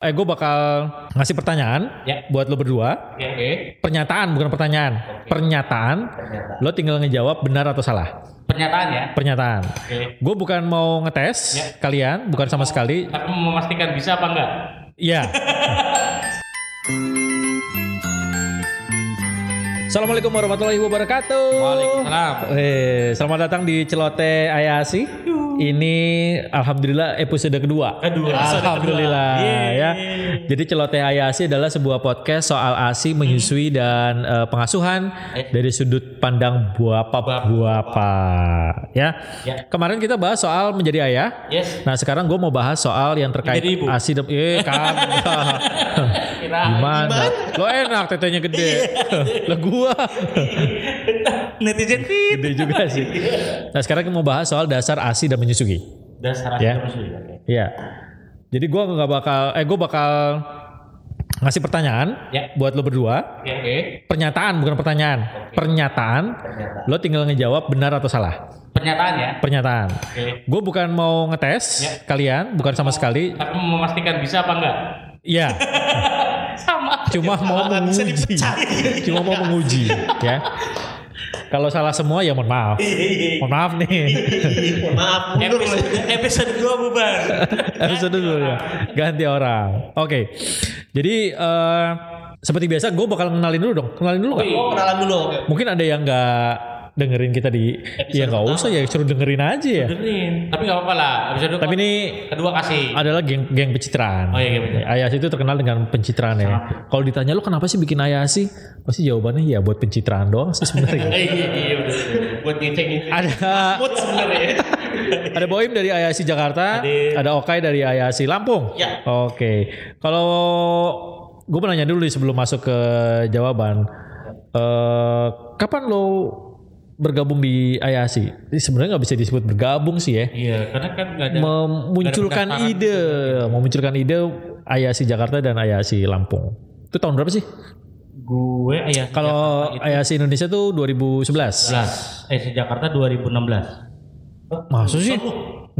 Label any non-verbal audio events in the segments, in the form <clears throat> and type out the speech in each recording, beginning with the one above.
Eh, gue bakal ngasih pertanyaan Ya. buat lo berdua. Oke. Pernyataan, bukan pertanyaan. Pernyataan. Pernyataan. Lo tinggal ngejawab benar atau salah. Pernyataan ya. Pernyataan. Oke. Gue bukan mau ngetes Ya. kalian, bukan sama sekali. Tapi mau memastikan bisa apa enggak? <laughs> Iya. Assalamualaikum warahmatullahi wabarakatuh. Waalaikumsalam. Eh, selamat datang di Celote Ayasi. Ini alhamdulillah episode kedua. Kedua. Alhamdulillah Yeay. ya. Jadi Celoteh Ayasi adalah sebuah podcast soal ASI menyusui dan eh, pengasuhan Eh. dari sudut pandang buapa buapa ya. Ya. Kemarin kita bahas soal menjadi ayah. Yes. Nah sekarang gue mau bahas soal yang terkait Menjadi ibu. Ah, ASI. dan- <laughs> Eh kagak. Kira Gimana? Lo enak tetenya gede. Iya. Lah gua <laughs> netizen fit. gede juga sih. Nah, sekarang kita mau bahas soal dasar ASI dan menyusui. Dasar Ya. aja musuh ya. Oke. Iya. Jadi gua nggak bakal eh gua bakal ngasih pertanyaan Ya. buat lo berdua. Oke. Oke. Pernyataan bukan pertanyaan. Pernyataan. Pernyataan. Lo tinggal ngejawab benar atau salah. Pernyataan ya. Pernyataan. Oke. Gue bukan mau ngetes Ya. kalian, bukan sama sekali. Tapi mau memastikan bisa apa enggak? Iya. Sama. cuma <laughs> mau menguji cuma mau menguji ya kalau salah semua ya mohon maaf Iya, mohon maaf nih Maaf, mundur Episode, episode 2 bubar. episode dulu ya ganti orang oke jadi eh, seperti biasa gue bakal kenalin dulu dong kenalin dulu nggak? Oh, kenalan dulu. mungkin ada yang nggak dengerin kita di ya nggak usah ya suruh dengerin aja ya Dengerin. Tapi enggak apa-apa lah. Episode tapi ini kedua kasih. adalah geng geng pencitraan. Oh iya, geng pencitraan. Ayasi itu terkenal dengan pencitraan ya. Kalau ditanya lu kenapa sih bikin Ayasi? Pasti jawabannya ya buat pencitraan doang sih sebenarnya. <laughs> Eh, Iya, iya, bener. Buat ngecek ngecek. ada Mood sebenarnya. ada Boim dari Ayasi Jakarta, ada Okai dari Ayasi Lampung. Ya. Oke. Kalau gue mau nanya dulu nih sebelum masuk ke jawaban, Eh, kapan lo bergabung di Ayasi? Ini sebenarnya nggak bisa disebut bergabung sih ya. Iya, karena kan enggak ada Memunculkan pendaftaran gitu. ide, memunculkan ide Ayasi Jakarta dan Ayasi Lampung. Itu tahun berapa sih? Iya, gue eh, iya, ayah Kalau gitu. Ayasi Indonesia tuh 2011. 2011. Eh, Jakarta 2016. Maksud sih?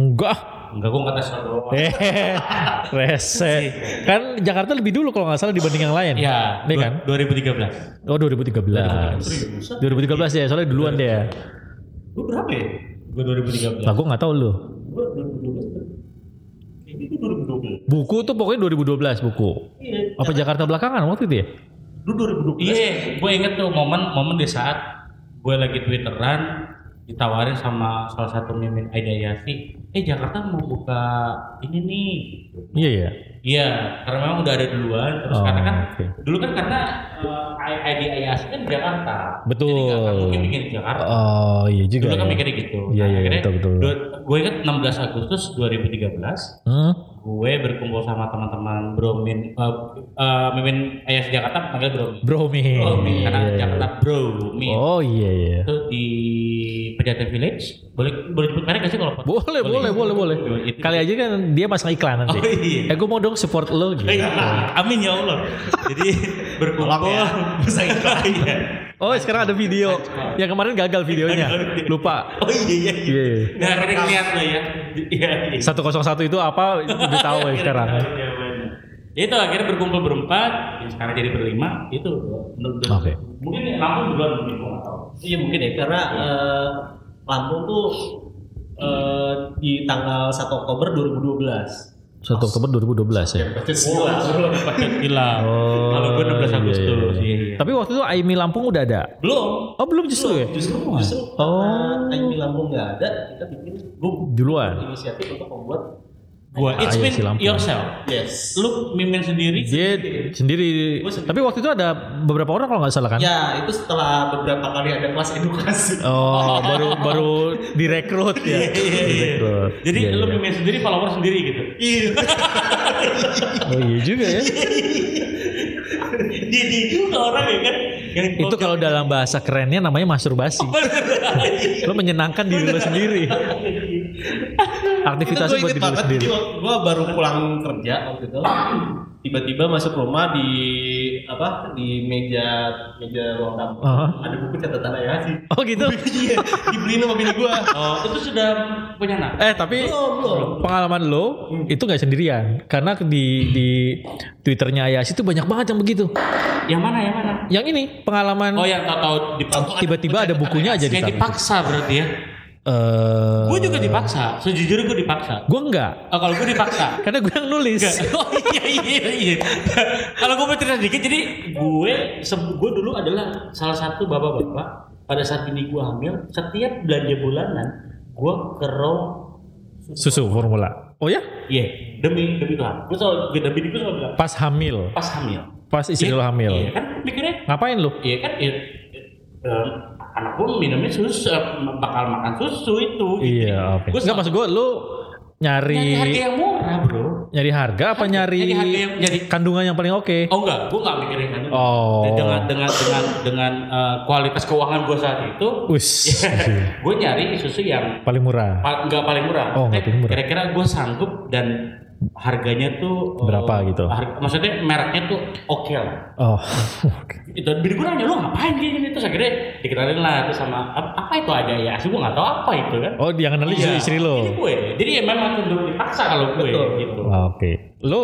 Enggak. ah. Enggak, gue ngetes doang. Iya, Eh, rese. Kan Jakarta lebih dulu kalau nggak salah dibanding yang lain. Ya, Iya kan? 2013. Oh 2013. 2013 ya, soalnya duluan dia. Lu berapa ya? Gue 2013. Nah, gue nggak tahu lu. Gua 2012. Ini tuh 2012. Buku tuh pokoknya 2012 buku. Iya. Apa Jakarta belakangan waktu itu ya? Lu 2012. Iya, gue inget tuh momen momen di saat gue lagi twitteran ditawarin sama salah satu mimin Aidayasi, eh Jakarta mau buka ini nih. Iya ya. Iya, karena memang udah ada duluan. Terus Oh, karena kan oke. dulu kan karena uh, Aidayasi kan di Jakarta. Betul. Jadi nggak akan mungkin bikin di Jakarta. Oh iya juga. dulu kan ya. mikirnya gitu. Iya, iya, akhirnya betul, betul. du- Gue inget 16 Agustus 2013 Hmm? gue berkumpul sama teman-teman Bromin eh eh, Mimin Ayah Jakarta panggil Bromin Bromi. Bromin Oh, karena Iya, iya. Jakarta Bromin Oh iya iya. itu di Pejaten Village boleh boleh sebut merek gak sih kalau Boleh, boleh, boleh, boleh. Itu. Kali aja kan dia pasang iklan nanti. <laughs> Oh, iya. Eh gue mau dong support lo gitu. Eh, amin ya Allah jadi berkumpul <laughs> Tolong ya. bisa iya Oh sekarang ada video. Yang kemarin gagal videonya. Lupa. oh iya iya iya Iya. iya. nah akhirnya ngeliat lo ya iya iya 101 itu apa udah tahu ya sekarang. iya. itu akhirnya berkumpul berempat yang sekarang jadi berlima itu menurut gue. Oke. mungkin ya, Lampung duluan mungkin gue nggak tahu Iya mungkin ya karena eh, Lampung tuh eh, di tanggal 1 Oktober 2012. 1 Oktober 2012 ya. Gila. Kalau gue 16 Agustus. Oh, Iya, iya. Tapi waktu itu Aimi Lampung udah ada. Belum. Oh belum justru ya. Justru justru karena Aimi Nah, Lampung nggak ada, kita bikin gua Duluan. inisiatif untuk membuat Gua Ah, iya it's been sih, Iya, Lampung. yourself. yes. Lu mimin sendiri. <laughs> Dia sendiri. Tapi waktu itu ada beberapa orang kalau nggak salah kan. Ya, itu setelah beberapa kali ada kelas edukasi. <laughs> Oh baru baru direkrut ya. Direkrut. Iya, Jadi Iya, lu iya. mimin sendiri follower sendiri gitu. Iya. Oh iya juga <laughs> ya. Dia dia juga orang ya kan. Yang Itu kalau dalam bahasa kerennya Oh, <laughs> namanya masturbasi. lo menyenangkan diri lo sendiri. Aktivitasnya itu buat diri lu gue inget banget sendiri. jadi waktu- gue baru pulang kerja waktu itu tiba-tiba masuk rumah di apa di meja meja ruang tamu Aha. ada buku catatan ayah sih Oh gitu. iya dibeliin sama bini gue Oh, itu sudah punya anak. Eh tapi belum belum pengalaman lo Hmm. itu nggak sendirian karena di di twitternya Ayas itu banyak banget yang begitu. <laughs> Yang mana? Yang mana? Yang ini pengalaman Oh, yang tahu-tahu dipaksa. tiba-tiba ada bukunya aja di Yang sana. dipaksa berarti ya. Eh, Gue juga dipaksa. Sejujurnya gue dipaksa. gue enggak Oh, kalau gue dipaksa. karena gue yang nulis. <laughs> Oh iya iya iya. Kalau gue mau cerita sedikit, jadi gue se- gue dulu adalah salah satu bapak-bapak pada saat ini gue hamil setiap belanja bulanan gue kerong Susu formula. Oh ya? iya demi demi Tuhan gue selalu demi diri gue selalu bilang Pas hamil, pas hamil pas istri Iya, lo iya hamil. kan mikirnya Ngapain lo? iya kan iya, eh, anak gue minumnya susu eh, bakal makan susu itu Iya, oke. gue Enggak maksud gue lo nyari nyari harga yang murah bro nyari harga apa nyari nyari harga yang- nyari- kandungan yang paling oke? oh enggak gue enggak mikirin kan Oh. dengan dengan dengan dengan eh, kualitas keuangan gue saat itu Wis. <laughs> gue nyari susu yang paling murah. pa- nggak paling murah. Oh, nggak Eh, paling murah. Kira-kira gue sanggup dan harganya tuh eh, Berapa gitu? har- maksudnya mereknya tuh oke lah. Oh. <laughs> oke. Itu bini gue nanya lu ngapain kayak gini terus akhirnya dikenalin lah terus sama "Ap- apa itu ada ya? Sih gue nggak tahu apa itu kan. Oh, yang kenal Iya, istri, istri Ini lo. gue. Jadi ya memang cenderung dipaksa kalau gue Betul. gitu. Ah, Oke. Lo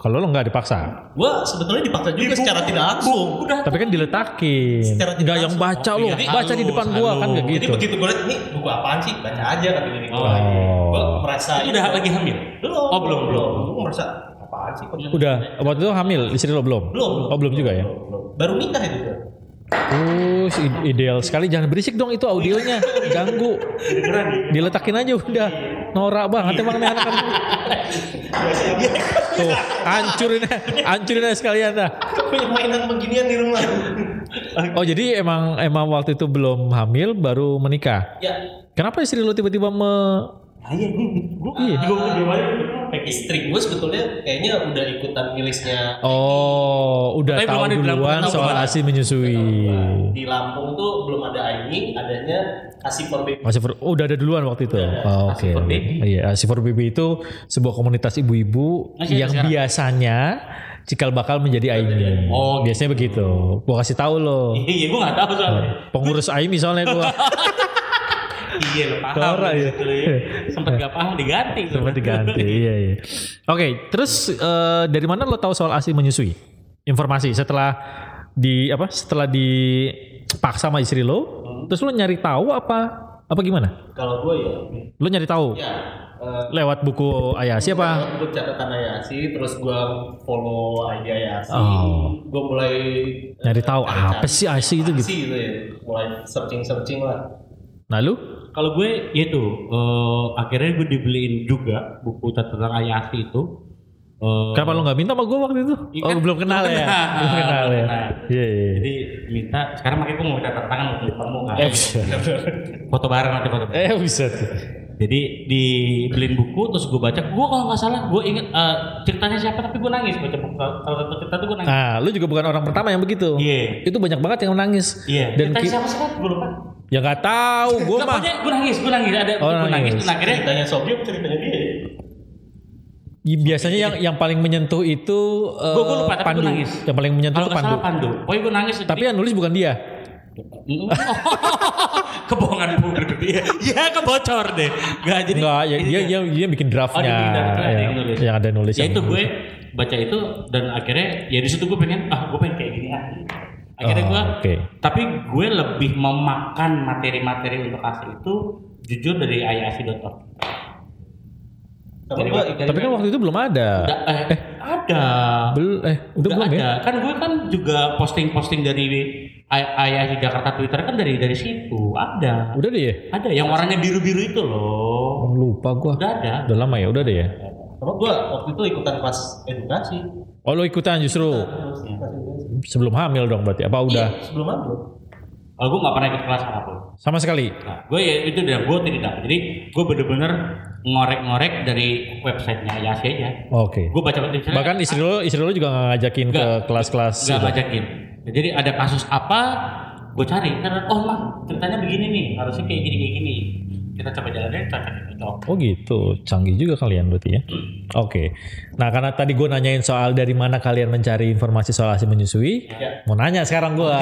kalau lo nggak dipaksa, gue sebetulnya dipaksa juga secara tidak langsung Udah tapi kan diletakin. Secara tidak Enggak yang langsung. baca lo, Iya, baca di halus, depan gua kan halus. nggak jadi gitu. begitu gue liat ini buku apaan sih baca aja kata bini gue Oh. gue Oh. merasa udah lagi hamil. belum Oh, belum, belum. gue merasa apaan sih kok Udah, waktu itu hamil istri lo belum? belum Oh, belum juga ya. belum. baru nikah itu gue Uh, si- ideal sekali. Jangan berisik dong itu audionya, ganggu. Diletakin aja udah. Norak banget emang nih anak Tuh, hancurin, hancurin aja sekalian dah. punya mainan beginian di rumah Oh jadi emang emang waktu itu belum hamil baru menikah. ya Kenapa istri lo tiba-tiba me Iya, gue Iya. gue istri gue sebetulnya kayaknya udah ikutan rilisnya Oh udah Tapi belum tahu ada di dalam duluan pengetahuan. soal asi menyusui. di Lampung tuh belum ada Aini adanya kasih pembe Masih for- oh, udah ada duluan waktu itu. Oh, Oke. Asi for Baby. Iya, Asi for Baby itu sebuah komunitas ibu-ibu Masih ada yang sekarang. biasanya cikal bakal menjadi AIMI. Oh, biasanya begitu. Gua kasih tahu lo. <laughs> Iya, gue nggak tahu Oh. soalnya. Pengurus AIMI soalnya <laughs> gua. Iya, lo paham. Norak ya. Gitu ya. <laughs> Sempet gak paham diganti. Sempat diganti. iya, iya. Oke, terus eh, dari mana lo tahu soal ASI menyusui? Informasi setelah di apa? Setelah dipaksa sama istri lo, Hmm. terus lo nyari tahu apa apa gimana? kalau gue ya Lo nyari Iya. tahu ya eh, lewat buku Ayasi apa? gue catatan Ayasi terus gue follow aja Ayasi Oh. gue mulai Nyari tahu apa cari-cari sih ASI itu gitu. Ayasi gitu ya mulai searching searching lah Nah, lu <laughs> Kalau gue ya itu eh, akhirnya gue dibeliin juga buku catatan Ayati itu. Eh, kenapa lo nggak minta sama gue waktu itu? Iya Oh, kan? belum kenal Belum ya. kenal. Belum kenal ya. Belum kenal. Iya, iya. Jadi minta sekarang makanya gue mau minta tanda tangan untuk ketemu kan. Eh, bisa. Foto bareng nanti foto. bareng. Eh, bisa. Jadi dibeliin buku terus gue baca. Gue kalau nggak salah gue inget eh, ceritanya siapa tapi gue nangis baca buku salah satu cerita tuh gue nangis. Nah, lu juga bukan orang pertama yang begitu. Iya. Itu banyak banget yang nangis. Iya. Ah. Dan Ceritanya ki- siapa sih gue lupa. ya nggak tahu gue Nggak, mah. pokoknya gue nangis, gue nangis ada Oh, gue nangis. nangis. Nah, akhirnya ceritanya Sobri apa ceritanya dia ya? Biasanya yang yang paling menyentuh itu eh, Gua- gua lupa, tapi gua Pandu. nangis. Yang paling menyentuh kalau itu nggak Pandu. salah Pandu. Pokoknya gue nangis. Tapi yang nulis bukan dia. <laughs> kebohongan publik ya, ya kebocor deh nggak jadi Enggak, ya, dia, dia dia bikin Oh, draftnya. dia bikin draft, ada ya, yang nulis. yang ada nulis. ya yang itu nulis. gue baca itu dan akhirnya ya di situ gue pengen ah gue pengen kayak gini ah akhirnya Oh, gue oke. tapi gue lebih memakan materi-materi untuk asli itu jujur dari ayasi.org Sama Dari gua waktu- ikan- Tapi kan waktu itu belum ada. Da- eh, ada Bel- eh udah Udah belum ada. ya? kan gue kan juga posting-posting dari ayasi Jakarta Twitter kan dari dari situ ada Udah deh ya? ada yang warnanya biru-biru itu loh Oh, lupa gue. udah ada Udah lama ya? Udah deh ya? sama gue waktu itu ikutan kelas edukasi Oh lo ikutan justru Terus kelas edukasi. sebelum hamil dong berarti? Apa udah? Iya, sebelum ambil kalau gue Oh, nggak pernah ikut kelas apapun Sama sekali? Nah, gue ya itu udah gue tidak Jadi gue bener-bener ngorek-ngorek dari websitenya Yasi aja. Oke. Gue baca baca Bahkan istri lo istri lo juga nggak ngajakin Nggak. ke kelas-kelas. gitu? nggak itu. bacakin. Jadi ada kasus apa gue cari karena oh mah ceritanya begini nih harusnya kayak gini kayak gini. Kita coba jalannya cocok ya, cocok. Oh gitu, canggih juga kalian berarti ya. Hmm. Oke. Nah karena tadi gue nanyain soal dari mana kalian mencari informasi soal asi menyusui, Iya. Ya. mau nanya sekarang <laughs> gue. <laughs>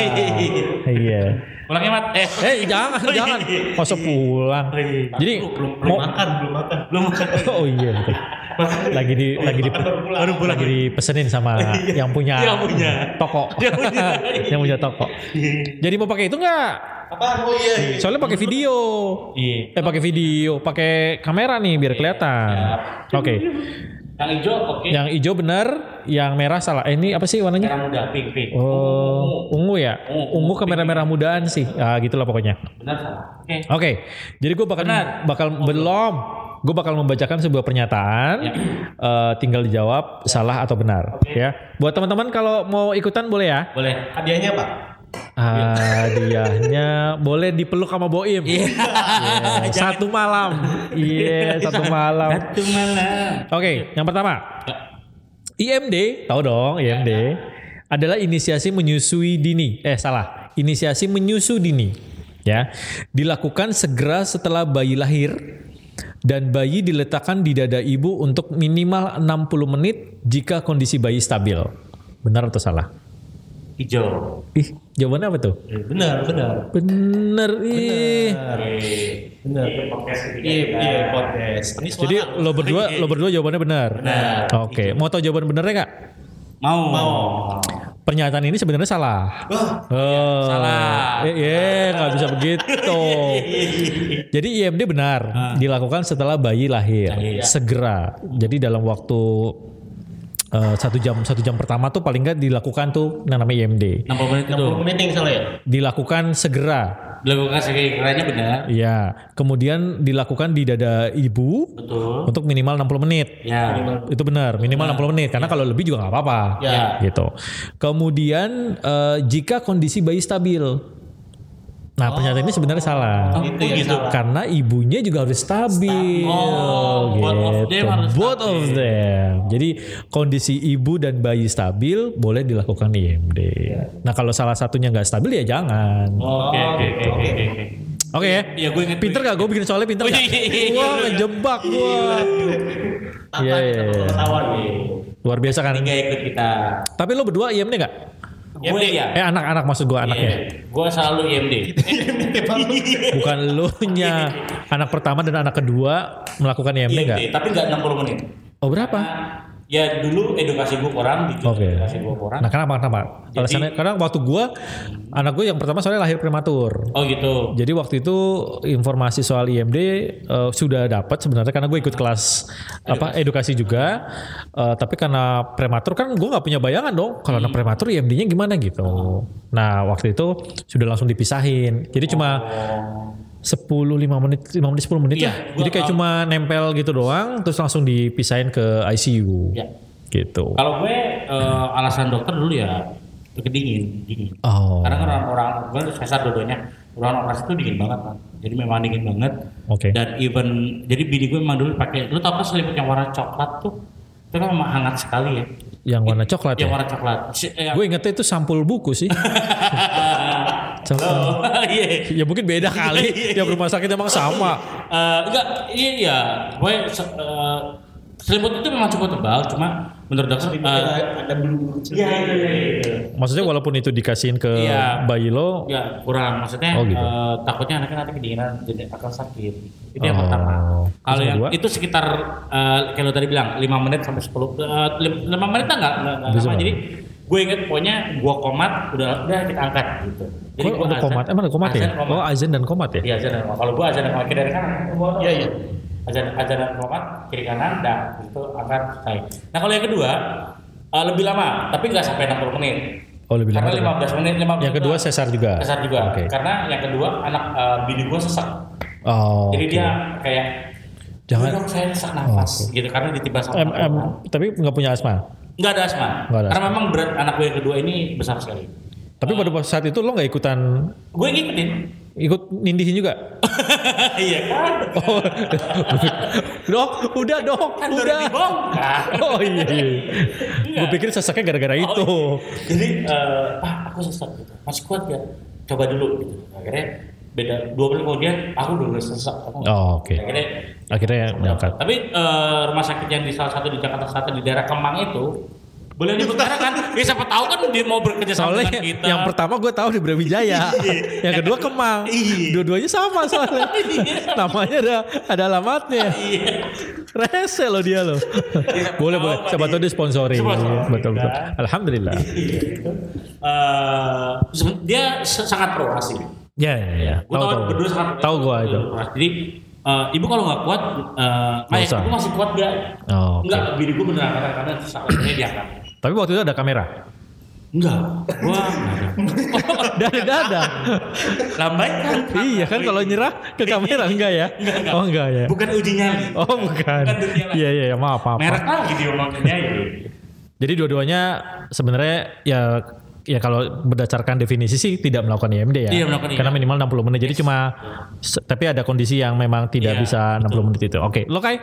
iya. Ulangnya mat. Eh, Eh jangan jangan, masa pulang. Oh, iya. Jadi belum belum mau makan belum makan belum makan. <laughs> oh iya betul. Lagi di lagi di Baru pulang. Baru pulang. lagi dipesenin <laughs> sama yang punya Iya. Yang punya. toko. <laughs> Yang punya. <laughs> Iya. yang punya toko. Jadi mau pakai itu nggak? apa oh iya iya. Soalnya pakai video. Eh Iya. pakai video, pakai kamera nih biar kelihatan. Iya. Oke. Yang hijau oke. Yang hijau benar, yang merah salah. Eh, ini apa sih warnanya? Merah muda pink pink. Oh, ungu ya? Ungu. Ungu ke merah-merah mudaan sih. Ah, gitulah pokoknya. Benar salah. Oke. Oke. Jadi gue bakal Benar. bakal belum. Gue bakal membacakan sebuah pernyataan. Eh, tinggal dijawab salah atau benar, ya. Buat teman-teman kalau mau ikutan boleh ya. Boleh. hadiahnya apa Hadiahnya boleh dipeluk sama Boim. Iya. Satu malam. Iya, satu malam. Satu malam. Oke, yang pertama. IMD, tahu dong IMD. Adalah inisiasi menyusui dini. Eh, salah. Inisiasi menyusu dini. Ya. Dilakukan segera setelah bayi lahir dan bayi diletakkan di dada ibu untuk minimal 60 menit jika kondisi bayi stabil. Benar atau salah? Hijau. Ih, jawabannya apa tuh? Eh, benar benar Bener, ih. iya, benar iya iya podcast ini Jadi suara lo berdua lo berdua jawabannya benar. Oke, mau tahu jawaban benernya nggak? Mau. Mau. Pernyataan ini sebenarnya salah. Oh. salah. Eh, iya, nggak bisa begitu. Jadi IMD benar, dilakukan setelah bayi lahir, segera. Jadi dalam waktu eh, satu jam satu jam pertama tuh paling nggak dilakukan tuh yang namanya IMD. 60 menit itu. 60 menit yang salah ya Dilakukan segera. Dilakukan sekiranya benar. Ya, kemudian dilakukan di dada ibu Betul. untuk minimal 60 menit. Ya. Ah, itu benar Ah, minimal 60 menit iya. karena kalau lebih juga nggak apa-apa ya gitu kemudian eh, jika kondisi bayi stabil nah pernyataan ini sebenarnya salah Oh, Itu yang gitu. salah. karena ibunya juga harus stabil, gitu. Oh, both of them harus Both of them. Jadi kondisi ibu dan bayi stabil boleh dilakukan IMD. Ya. Nah kalau salah satunya nggak stabil ya jangan. Oke oke oke oke, oke. Oke ya. Oh. Iya gue inget. Pinter gak? Gue bikin soalnya pinter Oh, gak? iya, iya, iya. Wah ngejebak gue. Tata Iya, kita iya, iya. ketahuan nih Luar biasa kan? Tiga ikut kita. Tapi lo berdua IMD gak? Gue ya. Eh anak-anak maksud gue anaknya. Iya. Gue selalu <laughs> IMD. <laughs> Bukan lu nya anak pertama dan anak kedua melakukan IMD enggak? IMD, tapi nggak 60 menit. Oh berapa? Ya dulu edukasi gue kurang, jujur Oke. edukasi gue kurang. Nah kenapa kenapa? Jadi- Alasannya karena waktu gua anak gue yang pertama soalnya lahir prematur. Oh gitu. Jadi waktu itu informasi soal IMD eh, sudah dapat sebenarnya karena gue ikut kelas apa edukasi juga. Eh, tapi karena prematur kan gue nggak punya bayangan dong kalau anak Hmm. prematur IMD-nya gimana gitu. Nah waktu itu sudah langsung dipisahin. Jadi cuma 10 5 menit 5 menit 10 menit Iya, ya. gua Jadi kayak tahu. cuma nempel gitu doang terus langsung dipisahin ke ICU. Iya. Gitu. Kalau gue eh, alasan dokter dulu ya kedingin, dingin. Oh. Karena kan orang-orang gue tuh sesar dua-duanya. Orang operasi itu dingin banget kan. Jadi memang dingin banget. Oh, Oke. Dan even jadi bini gue memang dulu pakai lu tau kan selimut yang warna coklat tuh itu kan memang hangat sekali ya. Yang warna coklat Yang ya. warna coklat. Si- eh, <laughs> Gue ingetnya itu sampul buku sih. Coklat. Oh, <laughs> iya. Ya mungkin beda kali. Tiap rumah sakit emang sama. Eh, enggak, iya, iya. Gue se- eh, selimut itu memang cukup tebal, cuma menurut dokter Ada- eh, ada bulu iya, iya, iya. Maksudnya walaupun itu dikasihin ke Iya. bayi lo, Ya kurang maksudnya Oh, gitu. eh, takutnya anaknya nanti kedinginan jadi akan sakit. Itu yang Oh. pertama. Terus Kalau yang yang kedua? itu sekitar eh, kalau tadi bilang 5 menit sampai 10 eh, lim- lima 5 menit lah enggak enggak- enggak Bisa lama. banget. Jadi gue inget pokoknya gua komat udah udah kita angkat gitu. Kok gua ada azan- komat? Emang ada komat ya? azan, komat. Oh azan dan komat ya? Iya azan dan komat. Kalau gua azan dan komat kiri dan kanan. Iya, iya. Azan azan dan komat kiri kanan dah gitu angkat selesai. Nah kalau yang kedua eh, lebih lama tapi nggak sampai 60 menit. Oh lebih lama. Karena tuh. 15 menit 15 Yang kedua doang. sesar juga. Sesar juga. Eh, Oke. Karena yang kedua anak eh, bini gue sesak. Oh. Jadi oke. dia kayak Jangan- "Dok, saya sesak nafas gitu karena ditiba sama Em- em, tapi nggak punya asma. Enggak ada asma. Nggak ada karena memang berat anak gue yang kedua ini besar sekali. Tapi pada Ah. saat itu lo nggak ikutan Gue ngikutin. <laughs> ikut nindihin juga. iya kan? Oh. <laughs> dok, udah dok, Kan baru Iya. udah. dibongkar. Oh iya. Gue pikir sesaknya Oh, gara-gara <laughs> itu. iya. Jadi eh, "Ah, aku sesak gitu. Masih kuat ya? Coba dulu gitu. Akhirnya beda dua bulan kemudian aku udah mulai sesak aku nggak- Oh, oke. akhirnya Iya. Akhirnya berangkat. Ya. tapi eh, rumah sakit yang di salah satu di Jakarta Selatan di daerah Kemang itu boleh diutarakan kan ya siapa tahu kan dia mau bekerja sama Soalnya dengan kita Iya. yang pertama gue tahu di <laughs> Brawijaya, yang kedua Kemang, dua-duanya sama <laughs> soalnya. Iya. Namanya ada ada alamatnya. Rese loh dia loh. <laughs> boleh boleh. Apa Coba nih? tuh disponsori. Iya. Sponsor. Betul betul. Iya. Alhamdulillah. Eh, seben- dia se- sangat pro asli Ya ya ya. gue tahu Tahu berdua tahu. sangat Tahu gue itu. jadi eh, ibu kalau nggak kuat eh Maya usah. ibu masih kuat gak Oh, oke. Enggak, bini gue beneran kadang-kadang sakitnya diangkat Tapi waktu itu ada kamera. Enggak, gua Oh, <laughs> Dari dada. lambai kan. iya kan kalau nyerah ke kamera enggak ya? Oh enggak ya. Iya. Bukan uji nyali. Oh bukan. Bukan dunia lain. Iya iya ya, maaf maaf. Merek lagi dia maksudnya itu. Jadi dua-duanya sebenarnya ya ya kalau berdasarkan definisi sih tidak melakukan IMD ya. Tidak Iya, melakukan Karena IMD. minimal 60 menit. Jadi cuma se- tapi ada kondisi yang memang tidak Iya, bisa 60 menit itu. Oke, lo Kai?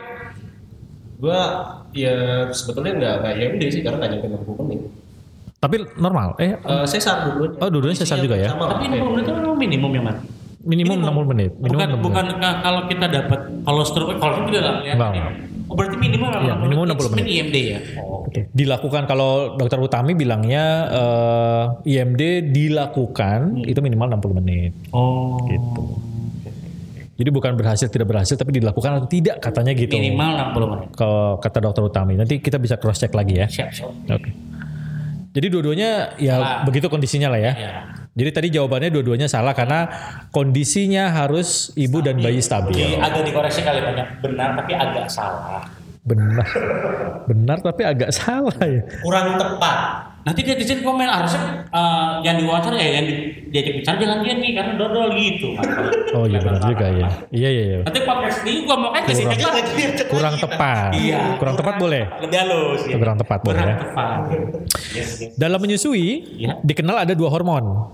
Gua ya sebetulnya nggak nggak IMD sih karena nggak nyampe 60 menit. Tapi normal. Eh Eh sesar dulunya. Oh, dua-duanya sesar juga ya? Sama. Tapi ini menurut itu memang minimum ya, Man. minimum, 60 menit. Minimum Bukan 60 bukan menit. ka- kalau kita dapat kalau stroke kalau stroke tidak ya. Enggak, enggak. Oh, berarti minimal Iya, minimum 60 menit. IMD ya. Oke. Dilakukan kalau dokter Utami bilangnya eh, IMD dilakukan Hmm. itu minimal 60 menit. Oh. Gitu. Jadi bukan berhasil tidak berhasil tapi dilakukan atau tidak katanya gitu. Minimal 60 menit. Kalau kata dokter Utami. Nanti kita bisa cross check lagi ya. Siap, siap. Oke. Jadi dua-duanya ya Salah. begitu kondisinya lah ya. Ya. Jadi tadi jawabannya dua-duanya salah karena kondisinya harus ibu dan bayi Jadi stabil. agak dikoreksi kali banyak benar tapi agak salah. Benar. Benar tapi agak salah ya. kurang tepat. Nanti dia netizen komen harusnya eh, yang diwawancara ya yang di- diajak bicara jangan dia nih karena dodol gitu. Oh iya benar juga ya. Iya iya iya. Nanti podcast ini gua mau kayak kesini Kurang- lagi. Kurang tepat. Iya. Kurang tepat boleh. Lebih halus. ya. Kurang tepat boleh Kurang ya. tepat. Yes, yes. Dalam menyusui Iya. dikenal ada dua hormon.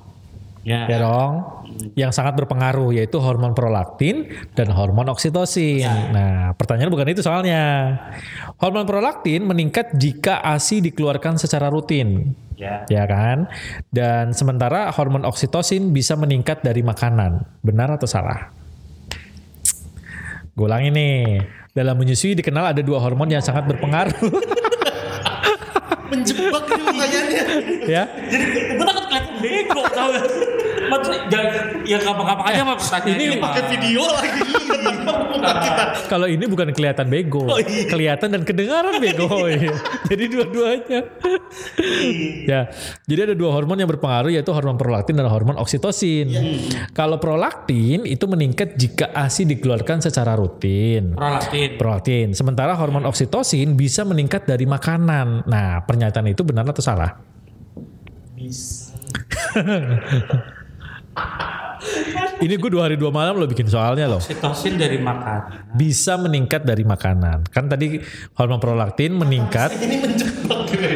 Ya. Ya dong. Yang sangat berpengaruh yaitu hormon prolaktin dan hormon oksitosin. Iya. Nah, pertanyaan bukan itu soalnya. Hormon prolaktin meningkat jika ASI dikeluarkan secara rutin. Ya. Ya kan? Dan sementara hormon oksitosin bisa meningkat dari makanan. Benar atau salah? Gue ulangi nih. Dalam menyusui dikenal ada dua hormon yang sangat berpengaruh Menjebak itu pertanyaannya. ya. Jadi gua takut kelihatan bego tau gak? Maksudnya jangan ya gampang-gampang aja mah pertanyaannya. ini Pak. Pakai video lagi. Kalau ini bukan kelihatan bego, kelihatan dan kedengaran bego. iya. Jadi dua-duanya. ya, jadi ada dua hormon yang berpengaruh yaitu hormon prolaktin dan hormon oksitosin. Kalau prolaktin itu meningkat jika ASI dikeluarkan secara rutin. Prolaktin. Prolaktin. Sementara hormon oksitosin bisa meningkat dari makanan. Nah, pernyataan itu benar atau salah? <laughs> Ini gue dua hari dua malam lo bikin soalnya loh Sitosin dari makan. bisa meningkat dari makanan. Kan tadi hormon prolaktin meningkat. Ini menjebak gue.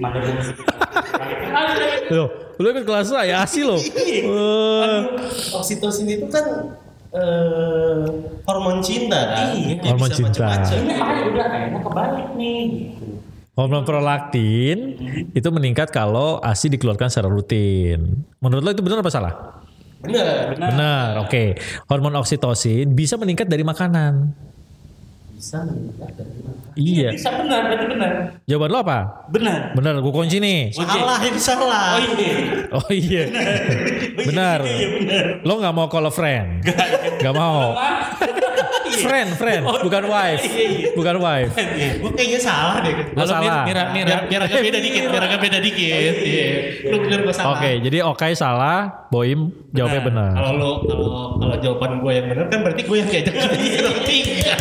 Mana gua mesti- Loh, lu ikut kelas saya ASI loh. Eh, Oksitosin itu kan eh, hormon cinta kan? Iya. Dia Hormon bisa cinta. macam-macam. Ini makanya udah kayaknya kebalik nih. hormon prolaktin itu meningkat kalau ASI dikeluarkan secara rutin. Menurut lo itu benar apa salah? Bener. Benar. Oke. Hormon oksitosin bisa meningkat dari makanan. Bisa meningkat dari mana? Iya. Bisa benar, berarti benar. Jawaban lo apa? Benar. Benar, gue kunci nih. Oke. Salah ini salah. Oh iya. Oh iya. Benar. Iya benar. Lo nggak mau call a friend? Gak mau. Oh. <laughs> Friend, friend, Oh, iya, bukan wife. Bukan wife. Gue kayaknya salah deh. Lo salah. Ya. Biar, biar agak beda dikit, biar agak beda dikit. Iya. Lu bener gue salah. Oke, jadi Okai salah, Boim jawabnya benar. Kalau lo kalau kalau jawaban gue yang benar kan berarti gue yang diajak tiga.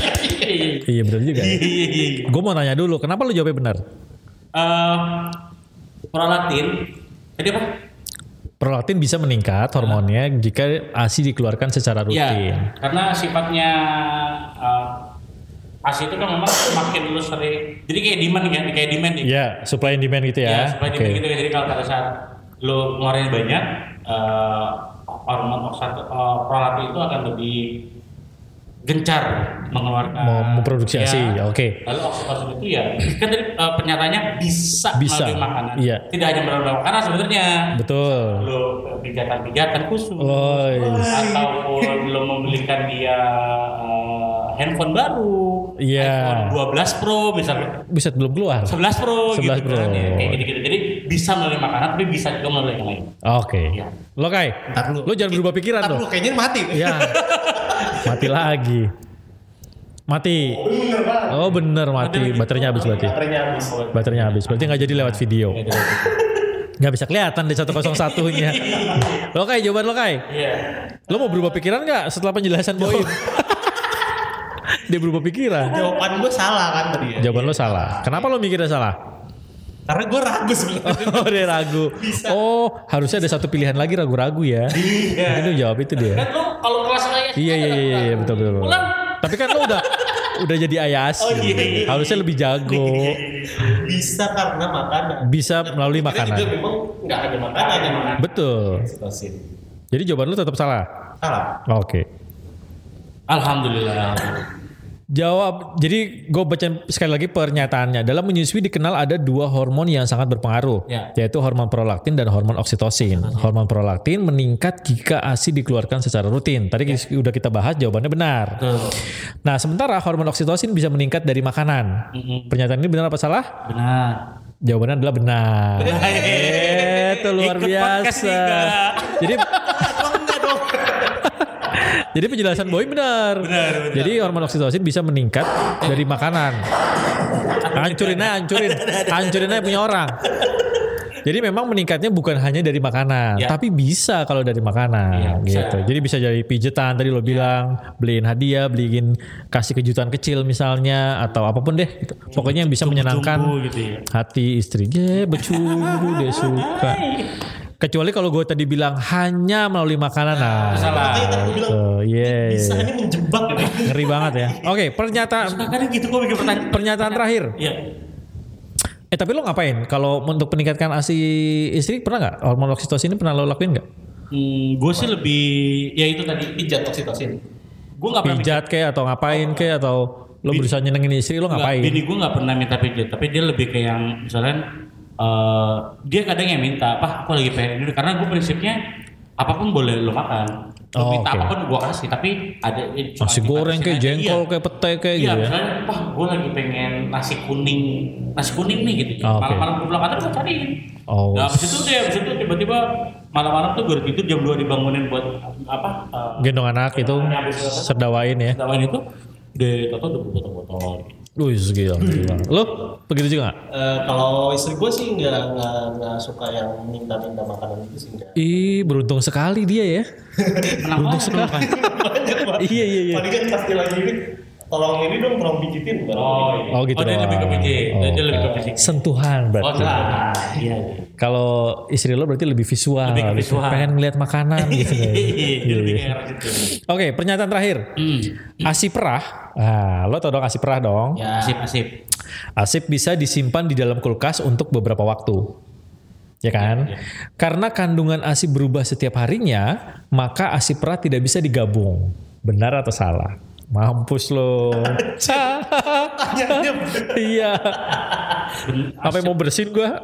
Iya benar juga. Iya iya iya. iya. Gue mau nanya dulu, kenapa lu jawabnya benar? Eh, prolatin. Jadi apa? Prolaktin bisa meningkat hormonnya jika ASI dikeluarkan secara Iya. rutin. Karena sifatnya eh, ASI itu kan memang makin lu sering. Jadi kayak demand kan, kayak demand Iya, supply and demand gitu Ya, ya. supaya Oke. gitu. Jadi kalau pada saat lo ngeluarin banyak, eh hormon oksato, eh, prolaktin itu akan lebih gencar. mengeluarkan Mau memproduksi ASI, Iya. ya, oke. lalu oksidasi itu ya kan tadi eh, pernyataannya bisa, Bisa, melalui makanan iya. tidak hanya melalui makanan sebenarnya Betul. lo kegiatan-kegiatan khusus Oh, iya. ataupun lo membelikan dia eh, handphone baru Iya. iPhone 12 Pro misalnya Bisa belum keluar. 11 Pro 11 gitu Pro. kan ya. kayak gitu-gitu jadi bisa melalui makanan tapi bisa juga melalui yang lain Oke. Iya. Lo Kai, Ntar dulu. lo jangan berubah pikiran Ntar lo. lu kayaknya mati. Ya. Mati lagi. Mati. Oh bener mati. Baterainya habis berarti. Baterainya habis. Baterainya habis. Berarti nggak jadi lewat video. Nggak bisa kelihatan di 101-nya. Lo Kai, jawaban lo Kai. iya Lo mau berubah pikiran nggak setelah penjelasan Boim? <laughs> Dia berubah pikiran. Jawaban gue salah kan tadi ya. Jawaban lo salah. Kenapa lo mikirnya salah? Karena gue ragu <laughs> sebenarnya. Oh dia ragu. Oh harusnya ada satu pilihan lagi ragu-ragu ya. Mungkin lo jawab itu dia. kan lo kalau kelas ayah Iya iya iya iya betul betul. betul. Pulang. Tapi kan lo udah udah jadi ayas. Oh, iya, iya, iya. Harusnya lebih jago. Bisa karena makanan. Bisa melalui Kita juga makanan. memang nggak hanya makanan yang makanan. Betul. Jadi jawaban lu tetap salah. Salah. Oke. alhamdulillah Jawab. Jadi gue baca sekali lagi pernyataannya. Dalam menyusui dikenal ada dua hormon yang sangat berpengaruh, Ya. yaitu hormon prolaktin dan hormon oksitosin. Hormon prolaktin meningkat jika ASI dikeluarkan secara rutin. Tadi udah kita bahas jawabannya benar. Ya. betul Nah, sementara hormon oksitosin bisa meningkat dari makanan. Pernyataan ini benar apa salah? benar Jawabannya adalah benar. Hehehe. Itu luar Iya. Ikut podcast biasa. juga. Jadi <laughs> Jadi penjelasan Boy benar. Jadi hormon oksitosin bisa meningkat dari makanan. Hancurin aja, hancurin. Hancurin aja punya orang. Jadi memang meningkatnya bukan hanya dari makanan, Ya. tapi bisa kalau dari Iya, makanan bisa. Iya. gitu. Jadi bisa jadi pijetan tadi lo bilang, beliin hadiah, beliin kasih kejutan kecil misalnya atau apapun deh. gitu. Iya, Pokoknya yang bisa menyenangkan Jumbo gitu ya hati istri ye becumbu dia suka kecuali kalau gue tadi bilang hanya melalui makanan nah, salah. Makanya tadi gue Iya, bilang gitu. Ye. bisa hanya menjebak gitu. <laughs> ngeri banget ya oke pernyataan makanya gitu gue bikin pertanyaan pernyataan terakhir iya eh tapi lo ngapain kalau untuk meningkatkan asi istri pernah nggak hormon oksitosin ini pernah lo lakuin nggak hmm, gue sih lebih ya itu tadi Pijat oksitosin. gue nggak pernah pijat kayak atau ngapain kayak atau lo berusaha nyenengin istri lo Nggak, Bini ngapain gue nggak pernah minta pijat, tapi dia lebih ke yang misalnya eh, dia kadang yang minta, "Pak, aku lagi pengen ini." Karena gue prinsipnya apapun boleh lo makan. Lo Oh, minta oke. apapun gue kasih, tapi ada eh, cuma nasi dibatasin goreng kayak aja. jengkol Iya. kayak pete kayak Iya, gitu ya misalnya, "Pak, gue lagi pengen nasi kuning, nasi kuning nih gitu." Oh, oke. Malam-malam gue pulang kantor gue cariin. oh Nah, abis itu deh, abis itu tiba-tiba malam-malam tuh gue gitu jam 2 dibangunin buat apa? eh, gendong anak itu serdawain ya Lawan itu, deh, tau udah botol-botol. Wih, gila, gila. Lo begitu juga gak? Eh, kalau istri gue sih nggak nggak nggak suka yang minta-minta makanan itu sih nggak. Ih, beruntung sekali dia ya. Kenapa? Kenapa? kan? Banyak Oh, banget. Iya, iya, iya. Paling kan pasti lagi ini. Tolong ini dong, tolong pijitin. Oh, iya. Oh, gitu dia doang. lebih ke pijit. Dia- dia Oh, lebih ke pijit. Sentuhan Oh, berarti. salah. Iya. Kalau istri lo berarti lebih visual, Lebih ke lebih visual. pengen ngeliat makanan gitu. Iya, ya. <laughs> iya, Dia Iya, lebih iya. ke arah situ. Oke, pernyataan terakhir. Hmm. Asih perah. Nah, lo tau dong asih perah dong. Ya. Asip, asip. Asip bisa disimpan di dalam kulkas untuk beberapa waktu. Ya kan? Iya, Karena kandungan ASI berubah setiap harinya, maka ASI pra tidak bisa digabung. Benar atau salah? Mampus <laughs> lo. <laughs> iya. Apa yang mau bersin gua?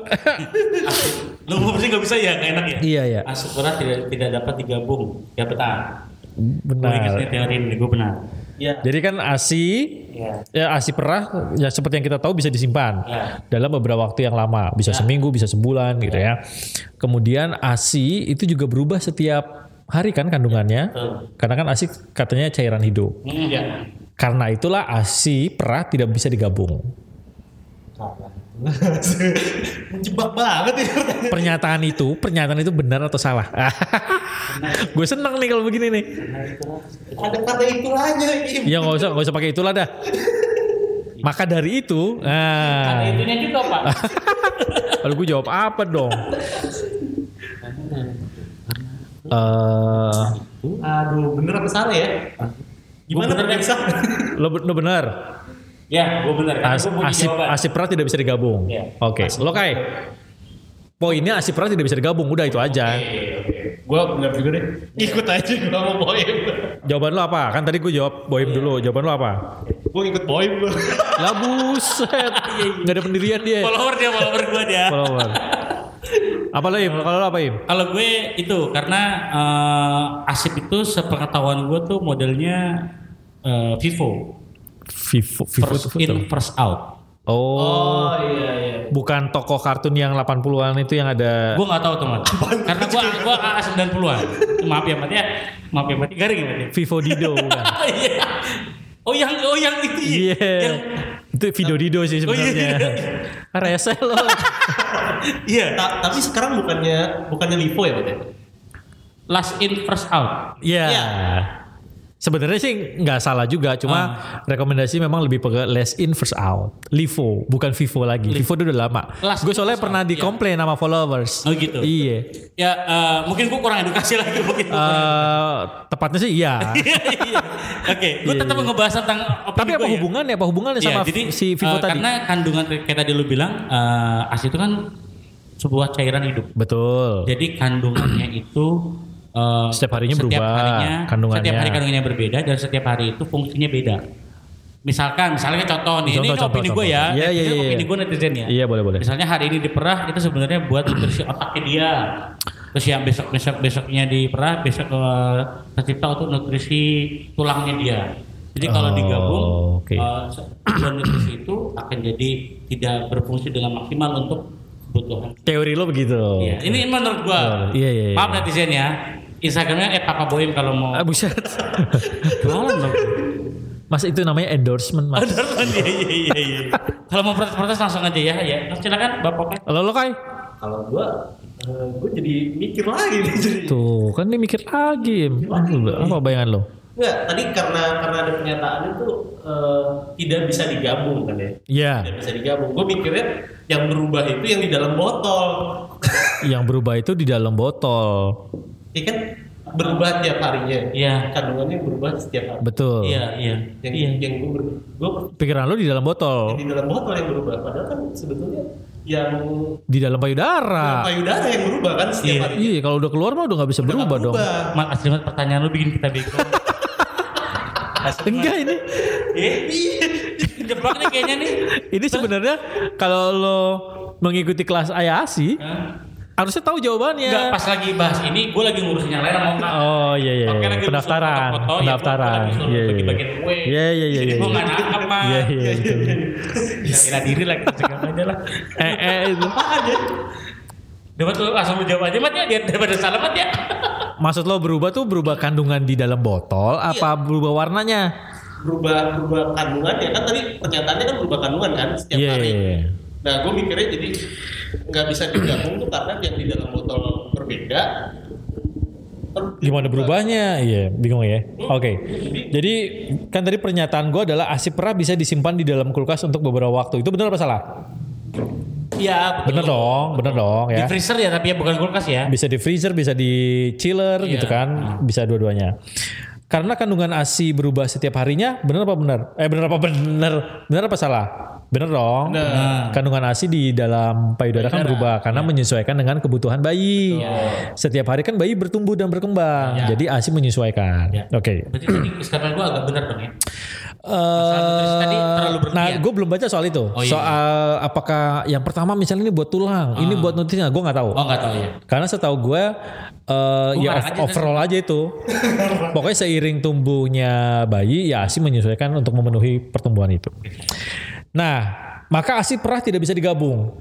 Lu ngomong sih nggak bisa ya, nggak enak ya. iya ya. Asip berat tidak tidak dapat digabung. Ya benar. Gue ingatnya Benar. teori ini, gue benar. Nah, ya. Iya. Jadi kan ASI Iya. ya ASI perah ya seperti yang kita tahu bisa disimpan Ya. dalam beberapa waktu yang lama, bisa seminggu, bisa sebulan gitu ya. Kemudian ASI itu juga berubah setiap hari kan kandungannya. Betul. Karena kan ASI katanya cairan hidup. Hmm, ya. Karena itulah ASI perah tidak bisa digabung. Salah. <laughs> Menjebak banget ya. ini pertanyaan. Pernyataan itu, pernyataan itu benar atau salah? <laughs> Gue seneng nih kalau begini nih. Ada kata itu aja Im. Ya nggak usah, nggak usah pakai itulah dah. Maka dari itu, Ada nah, itunya juga, Pak. <laughs> lalu gue jawab apa dong? Nah, Eh, Aduh, bener apa salah ya? Gimana bener bener ya? deh. lo, lo benar. <laughs> Ya, gue benar. Karena As, gue punya asip, jawaban. asip perah tidak bisa digabung. Iya. Oke, lo kai. Poinnya asip perah tidak bisa digabung, udah itu aja. Gue bener juga deh. Ikut aja gue mau poin. Jawaban lo apa? Kan tadi gue jawab Iya. Boim dulu. Jawaban lo apa? Gue ngikut boy lu. <laughs> Lah buset. Iya, Enggak ada pendirian dia. follower dia follower gue dia Follower. Apa lo Im? Kalau lo apa Im? kalau gue itu karena eh, Asif itu sepengetahuan gue tuh modelnya eh, Vivo Vivo, Vivo first tuh in apa? first out Oh, Oh iya iya. bukan tokoh kartun yang 80-an itu yang ada gue nggak tahu teman karena gue gue AA 90-an maaf ya Mat ya maaf ya Mat garing ya Mat ya. Vivo Dido <laughs> bukan? Iya. oh yang oh yang itu ya. Iya. yang Itu Vido Dido sih Oh, iya, sebenarnya. Rese lo. iya Ta- tapi sekarang bukannya bukannya Livo ya Pak? ya? last in first out Iya. Iya. Sebenarnya sih nggak salah juga, Ah. cuma rekomendasi memang lebih pege less in first out. Livo, bukan Vivo lagi. Vivo itu udah lama. Last Gue in, soalnya first pernah out, iya. dikomplain sama followers. Oh, gitu. Iya. ya eh, mungkin gue kurang edukasi lagi mungkin Eh, tepatnya sih iya. <laughs> Iya. Oke, gue tetap ngebahas tentang opini Tapi apa gua ya. hubungannya? Apa hubungannya Iya, sama jadi, si Vivo eh, tadi? Karena kandungan kayak tadi lu bilang eh ASI itu kan sebuah cairan hidup. Betul. Jadi <clears throat> kandungannya itu eh, Setiap harinya berubah, kandungannya. Setiap hari kandungannya berbeda dan setiap hari itu fungsinya beda. Misalkan, misalnya contoh nih, ini, ini Contoh, opini contoh, gue ya, contoh. Iya, iya, netizen, iya. opini gue netizen ya. Iya boleh boleh. Misalnya hari ini diperah itu sebenarnya buat nutrisi otaknya dia. Terus yang besok besok besoknya diperah besok eh, tercipta untuk nutrisi tulangnya dia. Jadi kalau Oh, digabung oke. eh, se- dua nutrisi itu akan jadi tidak berfungsi dengan maksimal untuk kebutuhan. Teori lo begitu. Iya, Ini menurut gua. Oh, iya, iya, iya. Maaf netizen ya. Instagramnya eh Papa Boim kalau mau Ah, <laughs> buset. jualan <laughs> dong. Mas itu namanya endorsement mas. Bener kan? Iya iya iya. iya. Kalau mau protes-protes langsung aja ya ya. Silakan Bapak. Halo lo kai? Kalau gua eh, gua jadi mikir lagi nih jadi. Tuh kan dia mikir lagi. Apa bayangan lo? Enggak, tadi karena karena ada pernyataan itu eh, tidak bisa digabung kan ya. Tidak Iya. bisa digabung. Gua mikirnya yang berubah itu yang di dalam botol. Yang berubah itu di dalam botol. Ya kan berubah tiap harinya. Iya. Kandungannya berubah setiap hari. Betul. Iya iya. Yang Iya. yang gua, ber, gua Pikiran lo di dalam botol. di dalam botol yang berubah padahal kan sebetulnya yang Di dalam payudara. payudara yang berubah kan Iya. setiap hari. Ah. Iya kalau udah keluar mah udah nggak bisa berubah dong. Mat, asli Mat, pertanyaan lu bikin kita bego. <laughs> Enggak ini. eh, iya. Jebak nih kayaknya nih. Ini sebenarnya kalau lo mengikuti kelas ayasi harusnya tahu jawabannya. Enggak, pas lagi bahas ini, gue lagi ngurusin yang lain sama Oka. Oh iya iya. Oke, lagi Pendaftaran, foto-foto, ya, pendaftaran. gua lagi Iya suruh iya. bagi-bagiin kue. Iya iya iya. Jadi iya, gue iya. gak nangkep, Mat. Iya iya. <laughs> betul. <laughs> Gila diri lagi, cegah aja lah. Eh eh itu. Dapat lu langsung jawab aja, Mat, ya. Dia daripada salah, Mat, ya. Maksud lo berubah tuh berubah kandungan di dalam botol Iya. apa berubah warnanya? berubah berubah kandungan ya kan tadi pernyataannya kan berubah kandungan kan setiap Iya hari. iya iya. Nah gue mikirnya jadi nggak bisa digabung tuh karena yang di dalam botol berbeda. Ter- Gimana berubahnya? Iya, bingung ya. Hmm. Oke. Jadi kan tadi pernyataan gue adalah asip perah bisa disimpan di dalam kulkas untuk beberapa waktu. Itu benar apa salah? <laughs> Iya, Bener dong, bener dong Di ya. freezer ya, tapi ya bukan kulkas ya. Bisa di freezer, bisa di chiller Iya. gitu kan, bisa dua-duanya. Karena kandungan ASI berubah setiap harinya, bener apa bener? Eh bener apa bener? Bener apa salah? Bener dong. Kandungan ASI di dalam payudara kan berubah karena Iya. menyesuaikan dengan kebutuhan bayi. Setiap hari kan bayi bertumbuh dan berkembang. Jadi ASI menyesuaikan. Iya. Oke. Berarti tadi sekarang gue agak benar dong ya. nutrisi Eh, tadi terlalu berlebihan. nah, gue belum baca soal itu. iya, Ah. soal apakah yang pertama misalnya ini buat tulang, ini buat nutrisi, gue nggak tahu. Oh, nggak tahu ya. Karena setahu gue eh ya marah ov- aja, overall aja <laughs> itu. Pokoknya seiring tumbuhnya bayi ya ASI menyesuaikan untuk memenuhi pertumbuhan itu. Nah, maka ASI perah tidak bisa digabung.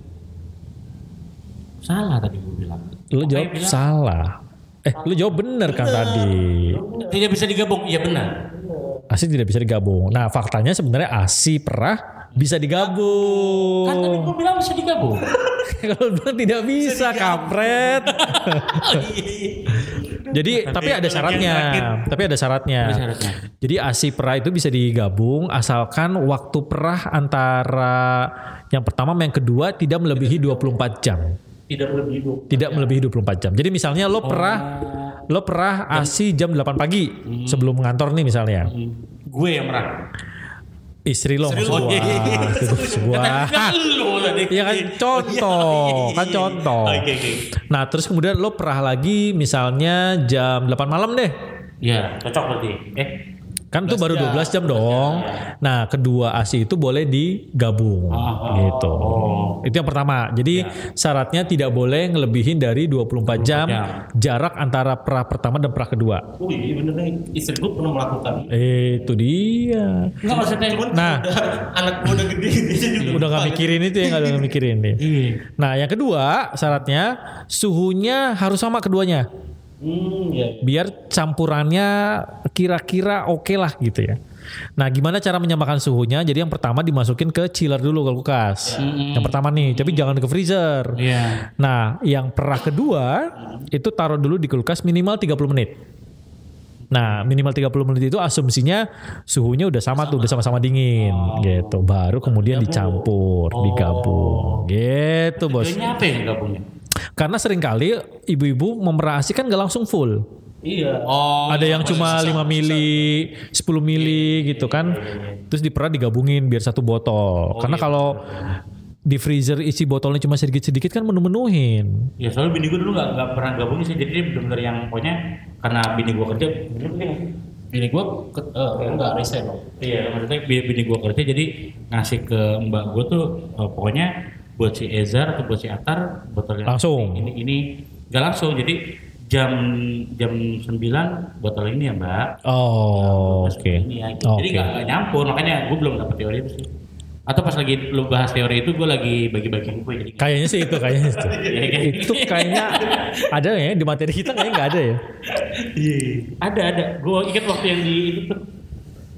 Salah tadi gue bilang. Lu jawab salah. Eh, lu jawab bener kan tadi. Tidak bisa digabung, iya benar. ASI tidak bisa digabung. Nah, faktanya sebenarnya ASI perah bisa digabung. Kan tadi gue bilang bisa digabung. <laughs> Kalau bilang tidak bisa, kampret. <laughs> Oh, iya, Jadi tapi ada syaratnya. Tapi ada syaratnya. Ada syaratnya. Jadi ASI perah itu bisa digabung asalkan waktu perah antara yang pertama sama yang kedua tidak melebihi 24 jam. Tidak lebih hidup. Tidak melebihi 24 jam. Jadi misalnya lo perah Oh. lo perah ASI jam 8 pagi sebelum ngantor nih misalnya. gue yang merah. Istri lo Iya, maksud gua. Istri gua. Kan lu tadi. iya, Iya kan contoh, kan contoh. Oke, oke. Nah terus kemudian lo perah lagi misalnya jam 8 malam deh. Iya, cocok berarti. Eh, Kan itu baru 12 jam dong. Nah, kedua ASI itu boleh digabung gitu. Itu yang pertama. Jadi syaratnya tidak boleh ngelebihin dari 24 jam jam. jarak antara pra pertama dan pra kedua. Oh iya bener nih, istri gue pernah melakukan. Eh, itu dia. enggak maksudnya Cuman Nah. Iya. udah, <laughs> anak gue udah gede, dia juga Udah lupa. nggak mikirin itu ya, nggak ada yang mikirin nih. Iya. Nah, yang kedua syaratnya suhunya harus sama keduanya. Hmm, iya. ya. biar campurannya kira-kira oke lah gitu ya. Nah, gimana cara menyamakan suhunya? Jadi yang pertama dimasukin ke chiller dulu ke kulkas. Yang pertama nih, tapi jangan ke freezer. Iya. Nah, yang perah kedua itu taruh dulu di kulkas minimal 30 menit. Nah, minimal 30 menit itu asumsinya suhunya udah sama, tuh, udah sama-sama dingin gitu. Baru kemudian dicampur, digabung. Gitu, Bos. Tujuannya apa yang gabungnya? Karena seringkali ibu-ibu memerasi kan gak langsung full Iya. Oh, ada yang cuma 5 mili, 10 Iya, mili gitu kan. Terus diperah digabungin biar satu Oh, botol. iya, Karena kalau di freezer isi botolnya cuma sedikit-sedikit kan menu-menuhin. Ya soalnya bini gue dulu gak, nggak pernah gabung sih Jadi dia bener-bener yang pokoknya Karena bini gue kerja bener nggak sih? Bini gue ke, eh, enggak resign loh. Iya maksudnya bini, bini gue kerja jadi Ngasih ke mbak gue tuh eh, Pokoknya buat si Ezar atau buat si Atar Botolnya Langsung. Ini, ini Gak langsung jadi jam jam 9 botol ini ya mbak Oh, oke. Ya, ini ya. Oh, Jadi Oke. nggak nggak nyampur makanya gue belum dapet teori itu sih atau pas lagi lu bahas teori itu gue lagi bagi-bagi info jadi Kayaknya sih itu kayaknya <laughs> itu. Iya, itu kayaknya ada ya di materi kita kayaknya nggak ada ya. Iya. iya. Ada ada. Gue ingat waktu yang di itu tuh.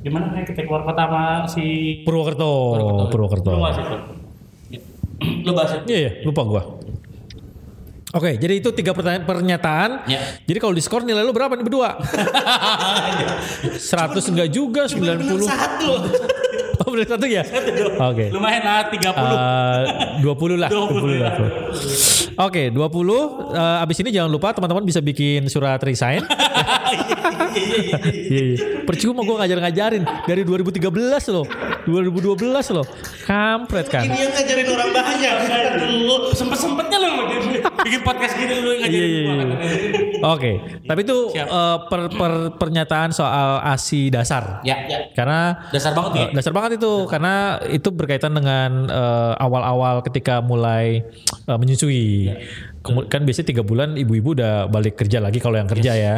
Gimana kayak kita keluar kota sama si Purwokerto, Oh, Purwokerto. Lu bahas itu. Lu bahas itu. Iya, iya, lupa gua. Oke, jadi itu tiga pertanyaan pernyataan. Ya. Jadi kalau di skor nilai lu berapa nih <laughs> berdua? 100 enggak juga, 90. Satu. <laughs> Oh, benar satu ya? Oke. Lumayan lah 30. Eh, 20 lah, 20 lah. 20. Oke, 20 eh, abis ini jangan lupa teman-teman bisa bikin surat resign. Iya, iya. Percuma gue ngajar-ngajarin dari 2013 loh. 2012 loh. Kampret kan. Ini yang ngajarin orang banyak. Iya. Aduh. Sempet-sempetnya lu ngajarin- bikin podcast gitu lu Iya, yang ngajarin iya, gua. iya. Oke, tapi itu eh, per- per- pernyataan soal ASI dasar. Ya, ya. Karena Dasar banget ya. Eh, dasar banget itu karena itu berkaitan dengan eh, awal-awal ketika mulai eh, menyusui. Kemu- kan biasanya tiga bulan ibu-ibu udah balik kerja lagi kalau yang kerja ya.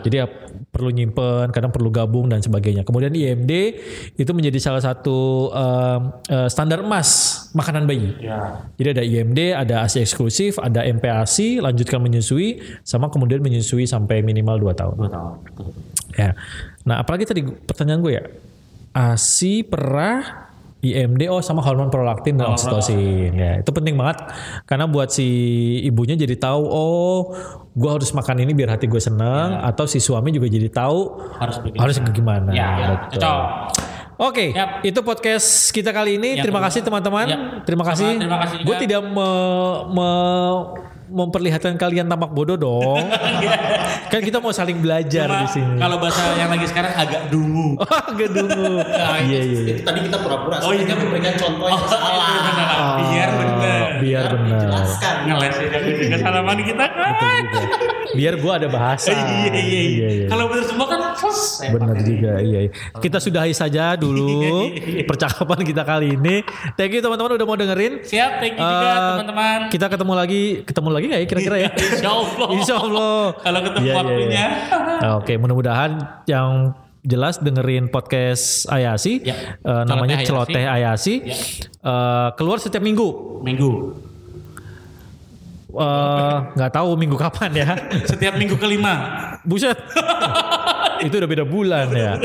Jadi ya, perlu nyimpen, kadang perlu gabung dan sebagainya. Kemudian IMD itu menjadi salah satu em, eh, standar emas makanan bayi. Ya. Jadi ada IMD, ada ASI eksklusif, ada MPASI, lanjutkan menyusui, sama kemudian menyusui sampai minimal 2 tahun. Gua tahu. Ya. Nah, apalagi tadi gu- pertanyaan gue ya. ASI, perah, IMD, oh sama hormon prolaktin dan oksitosin. Ya, itu penting banget karena buat si ibunya jadi tahu oh gue harus makan ini biar hati gue seneng atau si suami juga jadi tahu Harus bikin. harus gimana. Ya, ya. betul. Cocok. Oke, Yap. itu podcast kita kali ini. Yang terima kedua. kasih teman-teman. Yap. Terima Sama, kasih. terima kasih juga. Gue tidak me- me- memperlihatkan kalian tampak bodoh dong. <laughs> kan kita mau saling belajar Iya. Cuma di sini. <laughs> Kalau bahasa yang lagi sekarang agak dungu. Oh, gedungu. Nah, Iya, iya, iya. Itu tadi kita pura-pura. Oh, iya. Kita kan memberikan contoh yang salah. Ah. Biar bener. Oh, Biar benar. Jelaskan. Iya, Ngeles ya dari kesalahan kita kan. Biar gua ada bahasa. Iya iya iya. Kalau bener semua kan selesai. Benar juga, iya, iya. Kita sudahi saja <laughs> Iya, dulu percakapan kita kali ini. Thank you teman-teman udah mau dengerin. Siap, thank you juga Eh, Gitu kan, teman-teman. Kita ketemu lagi, ketemu lagi nggak ya kira-kira ya? <laughs> Insya Allah. Insya Allah. Kalau ketemu Iya, iya, waktunya. iya. <laughs> Oke, mudah-mudahan yang jelas dengerin podcast Ayasi, Ya. eh, namanya Celoteh Ya. Celoteh Ayasi, eh, keluar setiap minggu. Minggu. Eh, Nggak tahu minggu kapan ya. <laughs> Setiap minggu kelima. <laughs> Buset. itu udah beda bulan ya.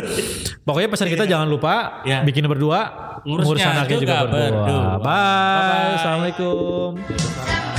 Pokoknya pesan kita jangan lupa Iya. bikin berdua, Ngurusnya ngurus anaknya juga, juga berdua. berdua. Bye. Bye-bye. Assalamualaikum. Salah.